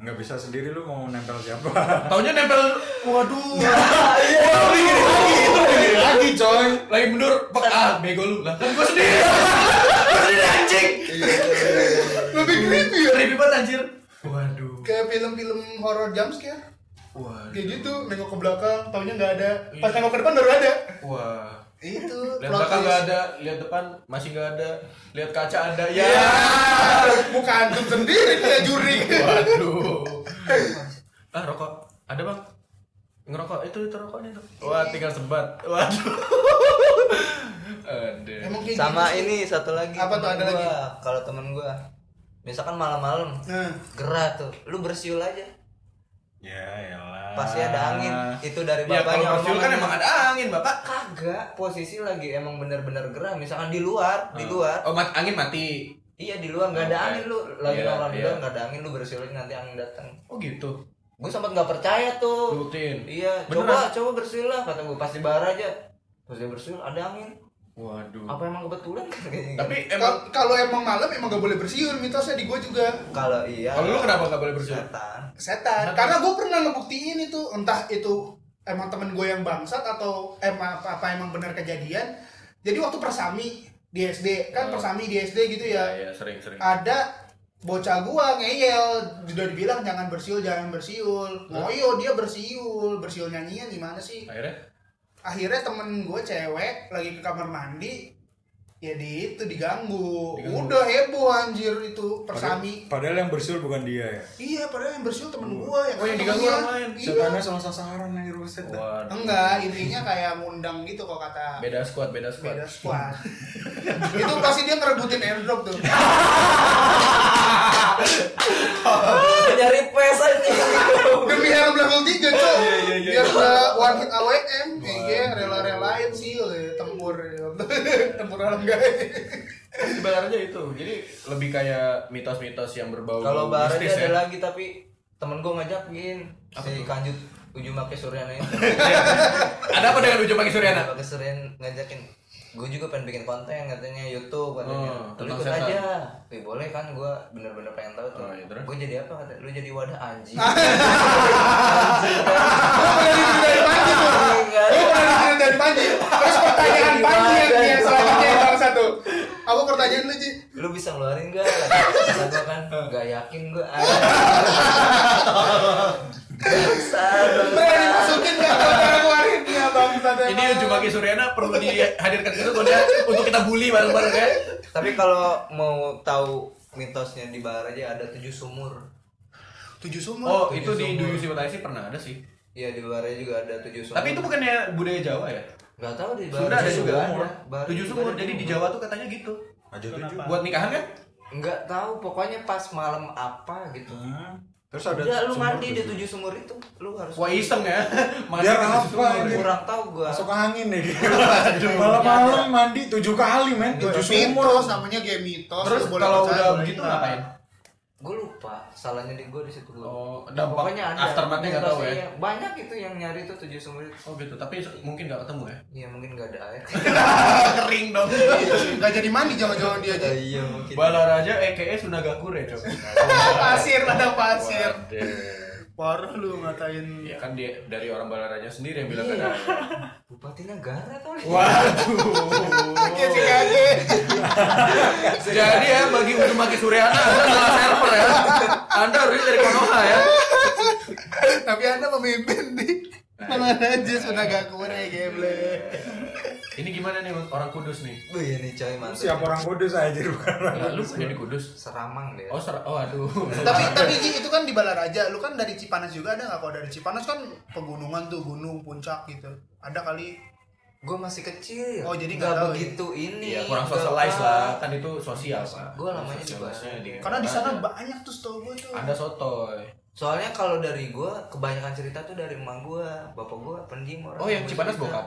nggak bisa sendiri lu mau nempel siapa? Taunya nempel waduh. Iya, Sendiri lagi coy. Lagi mundur. Pak ah, bego lu. Lah, kan gua sendiri. Gua sendiri anjing. Lebih creepy ya. Creepy banget anjir. Waduh. Kayak film-film horror jumpscare. Waduh. Kayak gitu, nengok ke belakang, taunya nggak ada. Pas nengok ke depan baru ada. Wah. Itu Lihat plot belakang twist. nggak ada, lihat depan masih nggak ada, lihat kaca ada. Ya. Ah, Bukan antum sendiri nih ya juri. Waduh. Ah, rokok. Ada, Bang? Ngerokok itu itu rokoknya tuh. Wah, tinggal sebat. Waduh. Aduh. Emang kayak sama gitu sih. ini satu lagi Apa tuh, ada temen lagi? gua. kalau temen gua misalkan malam-malam Nah, gerah tuh lu bersiul aja Ya elah. pasti ada angin itu dari Ya Ah. kalau bapaknya perfume kan omongannya. emang ada angin, Bapak. kagak posisi lagi emang bener-bener gerah misalkan di luar di luar Oh, mat- angin mati. Iya di luar nggak ada Oke. angin lu lagi Iya, nongkrong di luar iya. nggak ada angin lu bersihin nanti angin datang. Oh, gitu. Gue sempat nggak percaya tuh. Rutin. Iya coba coba bersihin lah kata gue pasti bar aja. Pas dia bersihin ada angin. Waduh. Apa emang kebetulan kan kayaknya? Tapi emang kal- kalau emang malam emang gak boleh bersiul mitosnya di gua juga. kalau iya. kalau lu kenapa nggak boleh bersiul? Setan. setan karena gue pernah ngebuktiin itu entah itu emang temen gue yang bangsat atau emang apa, apa emang benar kejadian jadi waktu persami di SD kan persami di SD gitu ya Iya, sering-sering. ada bocah gua ngeyel sudah dibilang jangan bersiul jangan bersiul ngoyo dia bersiul bersiul nyanyian gimana sih Akhirnya akhirnya temen gue cewek lagi ke kamar mandi ya di itu diganggu, udah heboh anjir itu persami Padahal yang bersul bukan dia ya. iya padahal yang bersiul temen gua yang Oh, yang kata diganggu dia. orang lain. Iya. Setannya sama sasaran nih ruset. dah. Waduh. Enggak, intinya kayak ngundang gitu kok kata Beda squad, beda squad. beda squad. itu pasti dia ngerebutin airdrop tuh. Nyari pes aja. Demi harga level 3, Cok. Biar udah one hit AWM, iya rela-relain sih ya, tempur. ya. tempur alam guys. Sebenarnya itu. Jadi lebih kayak mitos-mitos yang berbau Kalau bar aja mistis ada ya. lagi tapi temen gue ngajakin si kanjut ujung pakai suryana itu. Ada apa dengan ujung pagi Suryana? Pakai suryan ngajakin gue juga pengen bikin konten katanya YouTube Oh, katanya lu tentang ikut setan. aja Wih, boleh kan gue bener-bener pengen tahu tuh Oh, iya, terus? gue jadi apa kata lu jadi wadah anjing Pernah dibeli dari Panji tuh. Enggak. Lu pernah dibeli dari Panji. Terus pertanyaan Panji yang dia selanjutnya yang bang satu. Apa pertanyaan lu, Ji? lu bisa ngeluarin gak kata gue kan gak yakin gue Pernah dimasukin nggak tahu cara keluarin ya bang satu. Ini ujung pagi Suryana perlu dihadirkan ke situ Gonda, untuk kita bully bareng-bareng ya. tapi kalau mau tahu mitosnya di bar aja ada tujuh sumur Tujuh sumur. Oh, itu di Do You See What I See pernah ada sih. Iya di bar aja juga ada tujuh sumur Tapi itu bukannya budaya Jawa ya? Gak tahu di Sunda ada juga Baru- ada. Baru- Tujuh sumur. baru- Jadi di Jawa tuh katanya gitu. Maju tujuh. Buat nikahan kan? nggak tahu pokoknya pas malam apa gitu. Hmm. Terus ada Udah lu sumur mandi di tujuh. tujuh sumur itu, lu harus. Wah iseng ya. Mandi Biar ke tujuh apa, sumur. anjing? kurang tahu gua. Masuk angin deh gitu. Malam-malam mandi tujuh kali men, tujuh sumur. mitos namanya game mitos Terus lu boleh kalau percaya, udah boleh begitu enggak. gitu, ngapain? Gue lupa, salahnya di gue di situ gua. Ya, Oh, dampak Pokoknya ada. aftermath-nya nggak tahu ya? Mitosnya. Banyak itu yang nyari tuh tujuh sumur itu. Oh gitu. Tapi mungkin nggak ketemu ya. Iya mungkin gak ada air. Kering dong. Nggak jadi mandi jangan-jangan dia aja iya mungkin. Balaraja eh, EKE Sunagakure coba. pasir ada pasir parah lu ngatain Ya kan dia dari orang Balaraja sendiri yang bilang kan. Iya. ada. air. Bupati Nagara tau nih. Waduh. Oke, si kaki Jadi ya bagi Udumaki Suryana Anda salah server ya. Anda harusnya dari Konoha ya. tapi anda pemimpin di mana aja sudah ya, gak kure geble Ini gimana nih orang Kudus nih? Wih ini coy mantap. Siapa orang kudus aja bukan orang Ya, lu punya di Kudus. Seramang deh. Oh, ser- oh aduh. tapi tapi Ji, itu kan di Balaraja lu kan dari Cipanas juga ada nggak kalau dari Cipanas kan pegunungan tuh gunung puncak gitu ada kali Gue masih kecil. Oh, jadi nggak nggak tahu ya? begitu ini. Iya, kurang nggak socialize tahu. lah. Kan itu sosial, Pak. Gua lamanya di Sosialisnya Bandung. karena di sana Bandung. banyak tuh setahu gue tuh ada sotoy. Soalnya kalau dari gue kebanyakan cerita tuh dari emak gue, bapak gue pendiam orang. Oh, yang Gua Cipanas cerita. bokap?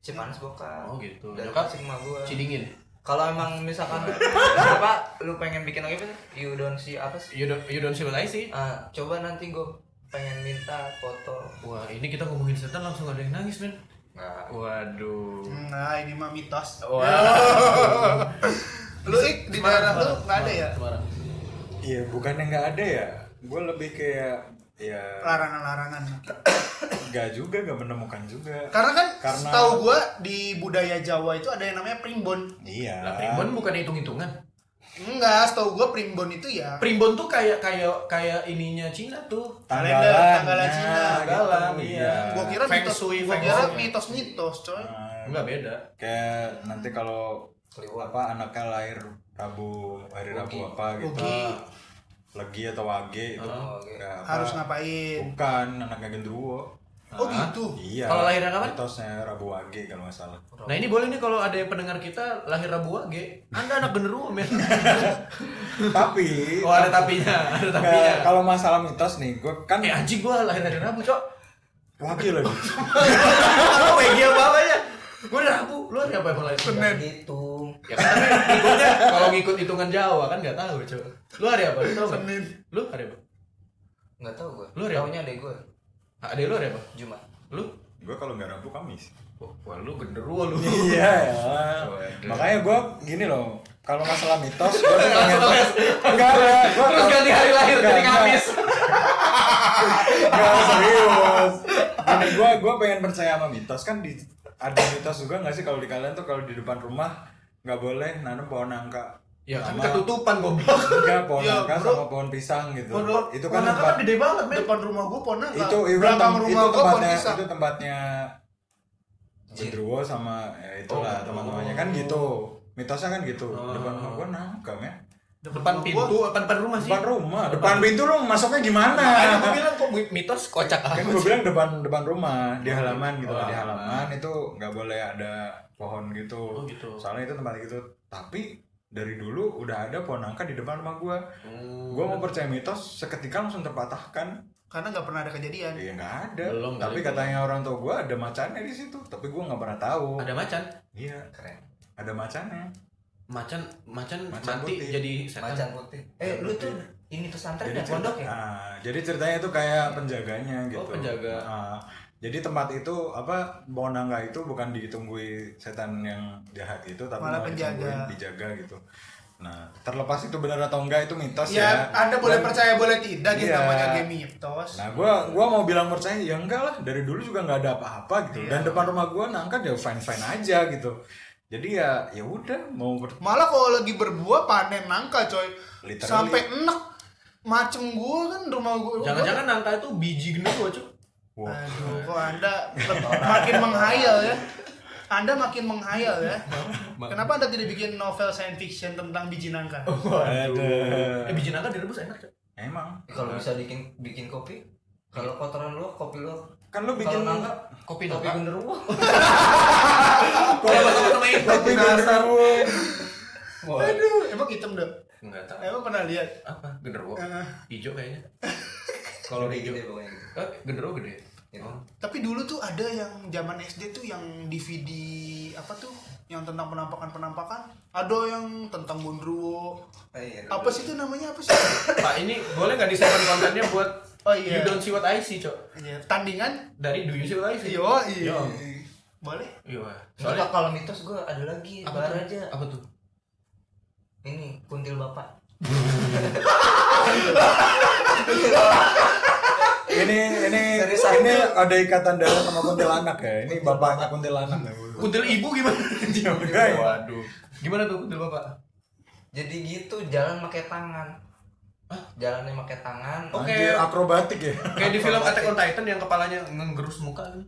Cipanas bokap. Oh, gitu. Dari Nyokap? kasih emak gue. Cidingin. Kalau emang misalkan apa lu pengen bikin lagi apa sih? You don't see apa sih? You don't, you don't civilize sih. Ah, coba nanti gue pengen minta foto. Wah, ini kita ngomongin setan langsung ada yang nangis, men. Nah, Waduh. nah ini mah mitos Wah. lu Ik, di daerah lu nggak ada ya Semarang. Iya, bukannya nggak ada ya. Gue lebih kayak ya larangan-larangan nggak juga nggak menemukan juga. karena kan Karena- setahu gue di budaya Jawa itu ada yang namanya primbon Iya. Lah, primbon bukan hitung-hitungan. enggak setahu gue primbon itu ya Primbon tuh kayak kayak kayak ininya Cina tuh. Kalender, tanggalan nah, Cina, tanggalan, gitu, iya. gue kira Feng mitos shui, gua feng kira shui. mitos-mitos coy Nah, Enggak beda. kayak nanti kalau Kliwon. apa anaknya lahir Rabu hari Rabu apa gitu Ugi. Ah, legi atau wage itu oke. nggak apa. harus ngapain bukan anaknya gendruwo oh gitu iya Kalau lahirnya kapan? mitosnya Rabu wage kalau nggak salah Nah ini boleh nih kalau ada yang pendengar kita lahir Rabu Wage, Anda anak genderuwo men. tapi oh ada tapinya, ada tapinya. nggak- kalau masalah mitos nih gue kan Eh anjing gua lahir dari Rabu cok. wage lagi Apa WG apa apanya? Gua dari Rabu, lu hari apa yang lahir? nggak gitu. Ya kan tapi ngikutnya kalau ngikut hitungan Jawa kan nggak tahu cok. Lu hari apa? Lu tahu nggak? Lu hari apa? Nggak tahu gue. Lu ada- Taunya ada gue. Ada lu hari apa? Jumat. Lu? gue kalau nggak Rabu Kamis Wah lu genderuwo lu. iya elah. Waduh. makanya gue gini loh kalau masalah mitos gue tuh pengen enggak gue Terus ganti hari lahir ganti Kamis. Gak serius. Gini, gua gua pengen percaya sama mitos kan di ada mitos juga nggak sih kalau di kalian tuh kalau di depan rumah nggak boleh nanam pohon angka. Ya kan Sama- ketutupan goblok. Enggak, pohon Ya, angka bro. sama pohon pisang gitu. Bodoh. itu kan Warna tempat, gede banget men. depan rumah gue pona nggak? itu itu, belakang tem- rumah itu gue pon tempatnya pisang itu tempatnya Gendruwo sama ya Oh, itulah teman-temannya kan gitu. Mitosnya kan gitu. Depan rumah gua nangka ya. Depan pintu, depan depan rumah sih. Depan rumah, depan pintu lu masuknya gimana? Makanya gue bilang kok mitos kocak kan amat. gue bilang depan depan rumah di halaman gitu Oh, lah di halaman. halaman itu nggak boleh ada pohon gitu. Oh, gitu. soalnya itu tempat gitu tapi dari dulu udah ada pohon angka di depan rumah gue Oh. gue mau percaya mitos seketika langsung terpatahkan karena nggak pernah ada kejadian ya nggak ada Belum kali tapi belum. katanya orang tua gue ada macannya di situ tapi gue nggak pernah tahu Ada macan. iya Keren. ada macannya Macan macan, Macan mati putih. jadi setan. Macan putih. Eh lu tuh ini pesantren ya cerita- pondok ya? Nah, jadi ceritanya itu kayak penjaganya gitu. penjaga. Nah, jadi tempat itu apa pohon nangka itu bukan ditunggui setan yang jahat itu tapi Malah malah penjaga. ditungguin, dijaga gitu. Nah, terlepas itu benar atau enggak itu mitos ya ya. anda boleh Dan- percaya boleh tidak gitu Iya. namanya game mitos Nah, gua gua mau bilang percaya ya enggak lah, dari dulu juga nggak ada apa-apa gitu. Dan depan rumah gua nangka ya fine-fine aja gitu. Jadi ya ya udah mau ber- malah kalau lagi berbuah panen nangka coy Literally. sampai enak macem gue kan rumah gue Jangan-jangan nangka itu biji genderuwo, Cuk. Wah. aduh kok anda makin menghayal ya anda makin menghayal ya kenapa anda tidak bikin novel science fiction tentang biji nangka Aduh. Eh biji nangka direbus enak, Cuk. Emang Kalau bisa bikin bikin kopi, Kalau kotoran lu, kopi lu. Kan lu bikin- Kalau nangka, Kopi kopi nangka? genderuwo. Kalau teman-teman itu Tapi genderuwo. Aduh, emang hitam dong. Enggak tahu. Emang pernah lihat? Apa? Genderuwo. Eh. Hijau kayaknya. Kalau Gede hijau. gede pokoknya. Eh, genderuwo gede. Iya. Oh. Tapi dulu tuh ada yang zaman SD tuh yang DVD apa tuh yang tentang penampakan-penampakan. Ada yang tentang Gondruwo. Ah, iya. Apa sih itu namanya apa sih? Pak, ini boleh nggak disimpan kontennya buat Oh, iya. You don't see what I see, Cok. Iya, tandingan. Dari Do you see what I see? Yo, Yo. iya. Boleh? Iya. Soalnya Soalnya kalau mitos gue ada lagi, apa bar tuh? aja. Apa tuh? Iya. Ini kuntil bapak. Ini ini ini ada ikatan darah sama kuntilanak ya. Ini bapaknya kuntilanak. Kuntil ibu gimana? Iya, Juga ya. Waduh. Gimana tuh kuntil bapak? Jadi gitu jalan pakai tangan. Jalannya pakai tangan. Oke. Anjir, akrobatik ya. Kayak di film Attack on Titan yang kepalanya ngegerus muka kan?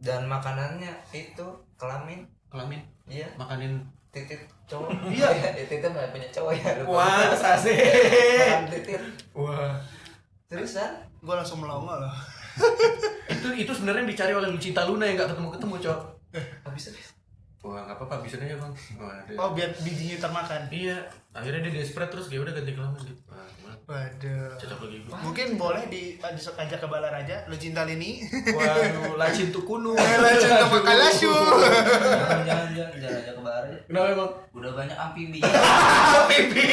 Dan makanannya itu kelamin. Kelamin. Iya. Makanin. Titit cowok. Iya. Ya, titit nggak punya cowok ya. lupa. Wah, sase. Makan titit. Wah. Seriusan? Gue langsung melongo loh. Itu itu sebenarnya yang dicari oleh Lucinta Luna yang nggak ketemu ketemu, Cok. Habis habis. Wah, nggak apa-apa, bisa aja bang. Wah, dia- Oh, biar bijinya termakan. Iya, akhirnya dia desperate terus dia udah ganti kelamin gitu. Wah, gimana? Waduh. Cocok lagi gue. Mungkin boleh di disok aja ke Balaraja, lu cinta Lini. Waduh, lacin Eh, tuh kuno. Lacin tuh makan lasu. Jangan jangan jangan jangan aja ke bar. Kenapa emang? Udah banyak amfibi. Pipi,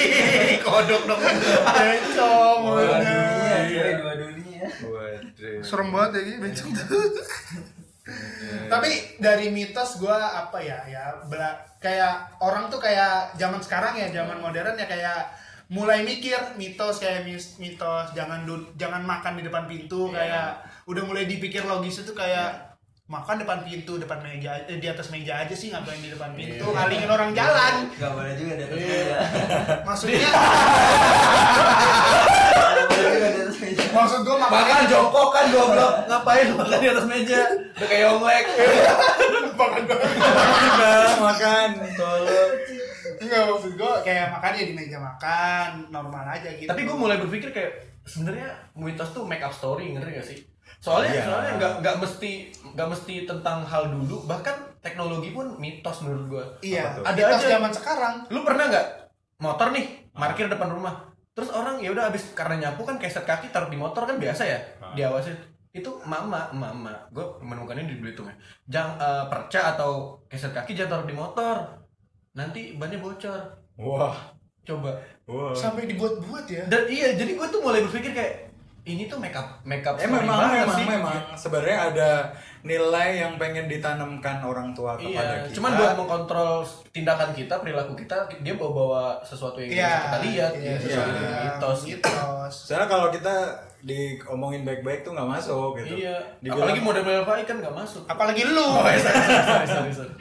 kodok dong. Bencong. Iya, iya, dua dunia. Waduh. Serem banget ya gini bencong tuh. Tapi dari mitos gua apa ya ya bela- kayak orang tuh kayak zaman sekarang ya zaman modern ya kayak mulai mikir mitos kayak mis- mitos jangan du- jangan makan di depan pintu kayak udah mulai dipikir logis itu kayak makan depan pintu depan meja eh, di atas meja aja sih ngapain di depan pintu ngalingin orang jalan Gak boleh juga di atas meja. maksudnya Gak boleh juga di atas meja. maksud gua makan Makan jongkok kan goblok. Ngapain makan di atas meja? Udah kayak omelek. Udah, makan. Tolong. enggak maksud gua kayak makan ya di meja makan normal aja gitu Tapi gue mulai berpikir kayak sebenarnya mitos tuh make up story ngerti gak sih? Soalnya Iya. soalnya nggak nggak mesti nggak mesti tentang hal dulu bahkan teknologi pun mitos menurut gue. iya Ada ada mitos aja. zaman sekarang Lu pernah nggak motor nih parkir depan rumah? Terus orang ya udah habis karena nyapu kan keset kaki taruh di motor kan biasa ya Ah. diawasin itu mama mama gue menemukannya di Belitung ya jangan eh, perca atau keset kaki jangan taruh di motor nanti bannya bocor Wah. coba Wah. sampai dibuat-buat ya dan iya jadi gue tuh mulai berpikir kayak ini tuh makeup makeup Eh memang memang memang sebenarnya ada nilai yang pengen ditanamkan orang tua iya kepada kita. cuman buat mengkontrol tindakan kita perilaku kita dia bawa bawa sesuatu yang Iya, kita lihat iya, gitu, sesuatu iya. yang mitos gitu mitos. Soalnya kalau kita diomongin baik-baik tuh nggak masuk gitu. iya Dibilang- apalagi model-model baik kan nggak masuk Apalagi lu. Oh, iya. sorry sorry sorry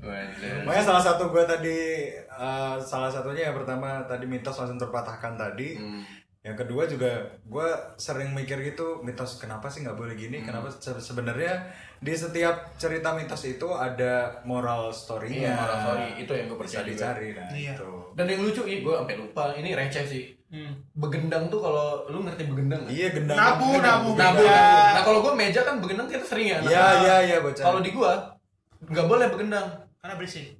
Waduh. Makanya salah satu gue tadi eh, salah satunya yang pertama tadi mitos langsung terpatahkan tadi. Hmm. Yang kedua juga gue sering mikir gitu mitos kenapa sih nggak boleh Hmm. gini? Kenapa se- sebenarnya di setiap cerita mitos itu ada moral Iya, story-nya. moral story. Itu yang gua bisa percaya juga. dicari nah Iya. itu. dan yang lucu iya gue sampai lupa ini receh sih Hmm. begendang tuh kalau lu ngerti begendang nggak? Iya gendang. Nabu, nabu. Nabu. Begendang. Nah kalau gue meja kan begendang kita sering ya. anak-anak. Iya, iya, iya, bocah. Kalau di gue nggak boleh begendang. Karena berisik.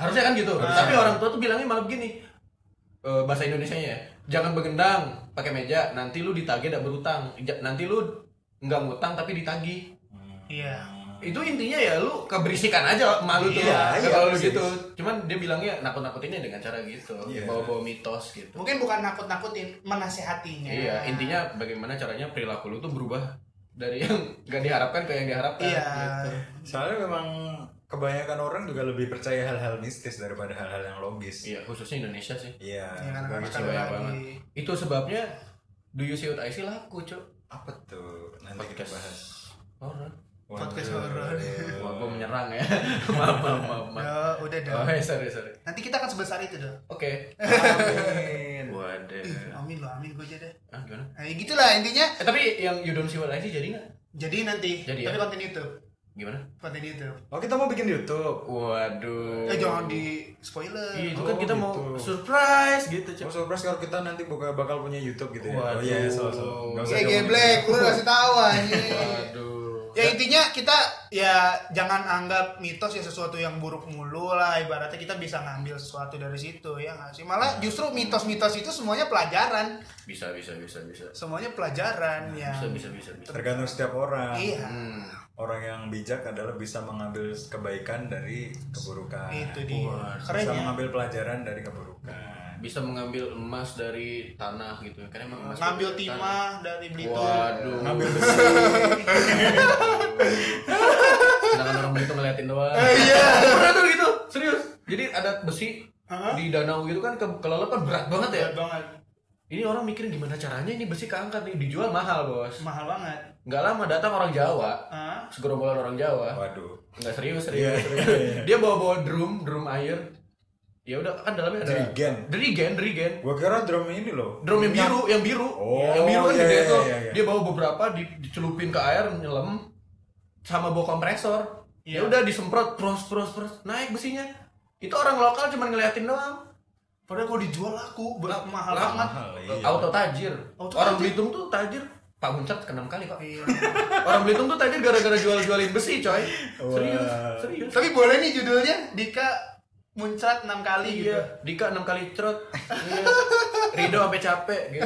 Harusnya kan gitu. Tapi orang tua tuh bilangnya malah begini. Eh, bahasa Indonesianya ya. Jangan begendang pakai meja. Nanti lu ditagih dan berutang. Ja- Nanti lu nggak ngutang tapi ditagih. Iya. Itu intinya ya lu keberisikan aja malu tuh. Iya, iya, kalau lu persis. gitu. Cuman dia bilangnya nakut-nakutinnya dengan cara gitu. Iya. Bawa-bawa mitos gitu. Mungkin bukan nakut-nakutin, menasehatinya. Iya, intinya bagaimana caranya perilaku lu tuh berubah dari yang gak diharapkan ke yang diharapkan. Iya. gitu. Soalnya memang kebanyakan orang juga lebih percaya hal-hal mistis daripada hal-hal yang logis. Iya, khususnya Indonesia sih. Iya. Iya, karena bagi anak-anak cewek. Nah, Banyak Lagi. banget. Itu sebabnya Do You See What I See laku, Cuk. Apa tuh? Nanti kita Podcast. bahas. Horor. Waduh. Podcast horor. Wah, gua menyerang ya. maaf, maaf, maaf. maaf. Ya, udah dah. Oh, ya, sorry, sorry. Nanti kita akan sebesar itu dah. Oke. Amin. Waduh. Amin lo, amin gue aja deh. Ah, gimana? Nah, ya gitulah intinya. Eh, tapi yang You Don't See What I See jadi nggak? Jadi nanti, Jadi tapi ya? konten YouTube. Gimana? konten di YouTube. Oh kita mau bikin YouTube. Waduh. Eh jangan di spoiler. Oh. Iya, itu Oh, kan kita mau gitu. surprise gitu, Mau Cok. surprise kalau kita nanti buka bakal punya YouTube gitu ya. Waduh. Oh iya, so so. Gak usah Eh diomongin. geblek, lu kasih tahu Iya. anjing. Waduh. ya intinya kita ya jangan anggap mitos ya sesuatu yang buruk mulu lah ibaratnya kita bisa ngambil sesuatu dari situ ya nggak sih malah justru mitos-mitos itu semuanya pelajaran Bisa bisa bisa bisa. semuanya pelajaran ya Nah, Bisa bisa bisa bisa. Tergantung setiap orang. iya Hmm. Orang yang bijak adalah bisa mengambil kebaikan dari keburukan. itu dia ya. Wah, Bisa kerennya mengambil pelajaran dari keburukan. Bisa mengambil emas dari tanah gitu. Kan emang emas ngambil dari tanah. timah gitu. dari Belitung Waduh. Ngambil besi. Sedangkan orang Belitung ngeliatin doang. iya. Pernah tuh gitu, serius. Jadi ada besi Hah? di danau gitu kan ke kelelepan berat banget ya. Berat Iya, banget Ini orang mikirin gimana caranya ini besi keangkat nih dijual mahal bos. mahal banget Nggak lama datang orang Jawa, Hah? segerombolan orang Jawa. Waduh. Nggak serius serius. Iya, serius. iya. Dia bawa-bawa drum, drum air. Ya udah kan dalamnya ada Dirigen. Dirigen, dirigen. Gua kira drum ini loh. Drum yang biru, yang biru. Oh, yang biru kan iya, gede iya, tuh. iya, iya. Dia bawa beberapa di- dicelupin ke air nyelam sama bawa kompresor. Ya Iya. udah disemprot terus terus terus naik besinya. Itu orang lokal cuman ngeliatin doang. padahal kalau dijual laku ber- mahal lah, banget Mahal, iya. Auto tajir. Auto orang tajir. Belitung tuh tajir. Pak Muncat keenam kali, Pak. Iya. orang Belitung tuh tajir gara-gara jual-jualin besi, coy. Serius, Wah. serius. tapi boleh nih judulnya Dika muncrat 6 Iya, kali gitu Dika enam kali cerot. Iya. Rido sampai capek gitu.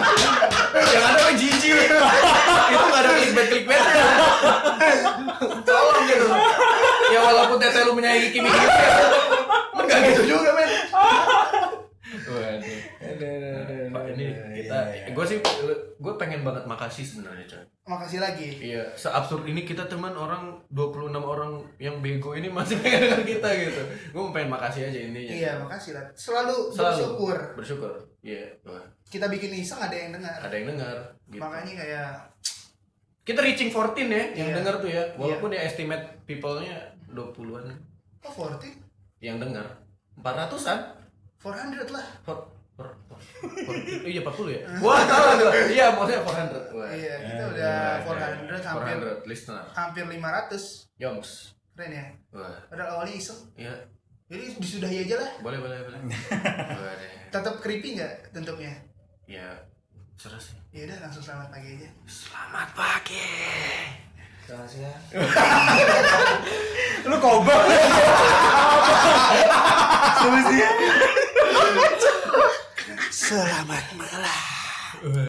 Yang ada kan jijik. Itu enggak ada clickbait clickbait. Tolong gitu. Ya walaupun teteh lu menyayangi Kimi Kimi. Men enggak gitu juga, men. Waduh. Iya, Pak, ini kita gue sih gue pengen banget makasih sebenarnya, coy. makasih lagi Iya, seabsurd ini kita teman orang 26 orang yang bego ini masih pengen dengan kita gitu. Gue mau pengen makasih aja intinya. Iya, makasih lah. Selalu, Selalu. bersyukur. bersyukur iya Wah, Kita bikin iseng ada yang dengar. ada yang dengar gitu. Makanya kayak kita reaching 14 ya yang Iya. dengar tuh ya walaupun ya estimate people-nya 20-an oh 40, yang dengar 400-an 400 lah. For- for- for- for- iya 40 ya wah salah gua iya maksudnya 400 wah Iya, kita udah Iya, iya. 400 hampir 400 listener hampir 500. yoms Keren ya. wah Padahal awalnya iseng. iya Jadi disudahi aja lah. boleh boleh boleh Wah, deh. Tetap creepy nggak bentuknya? ya seru sih Ya udah langsung selamat pagi aja. selamat pagi Rahasia. Lu kobak. Apa sih? Selamat malam.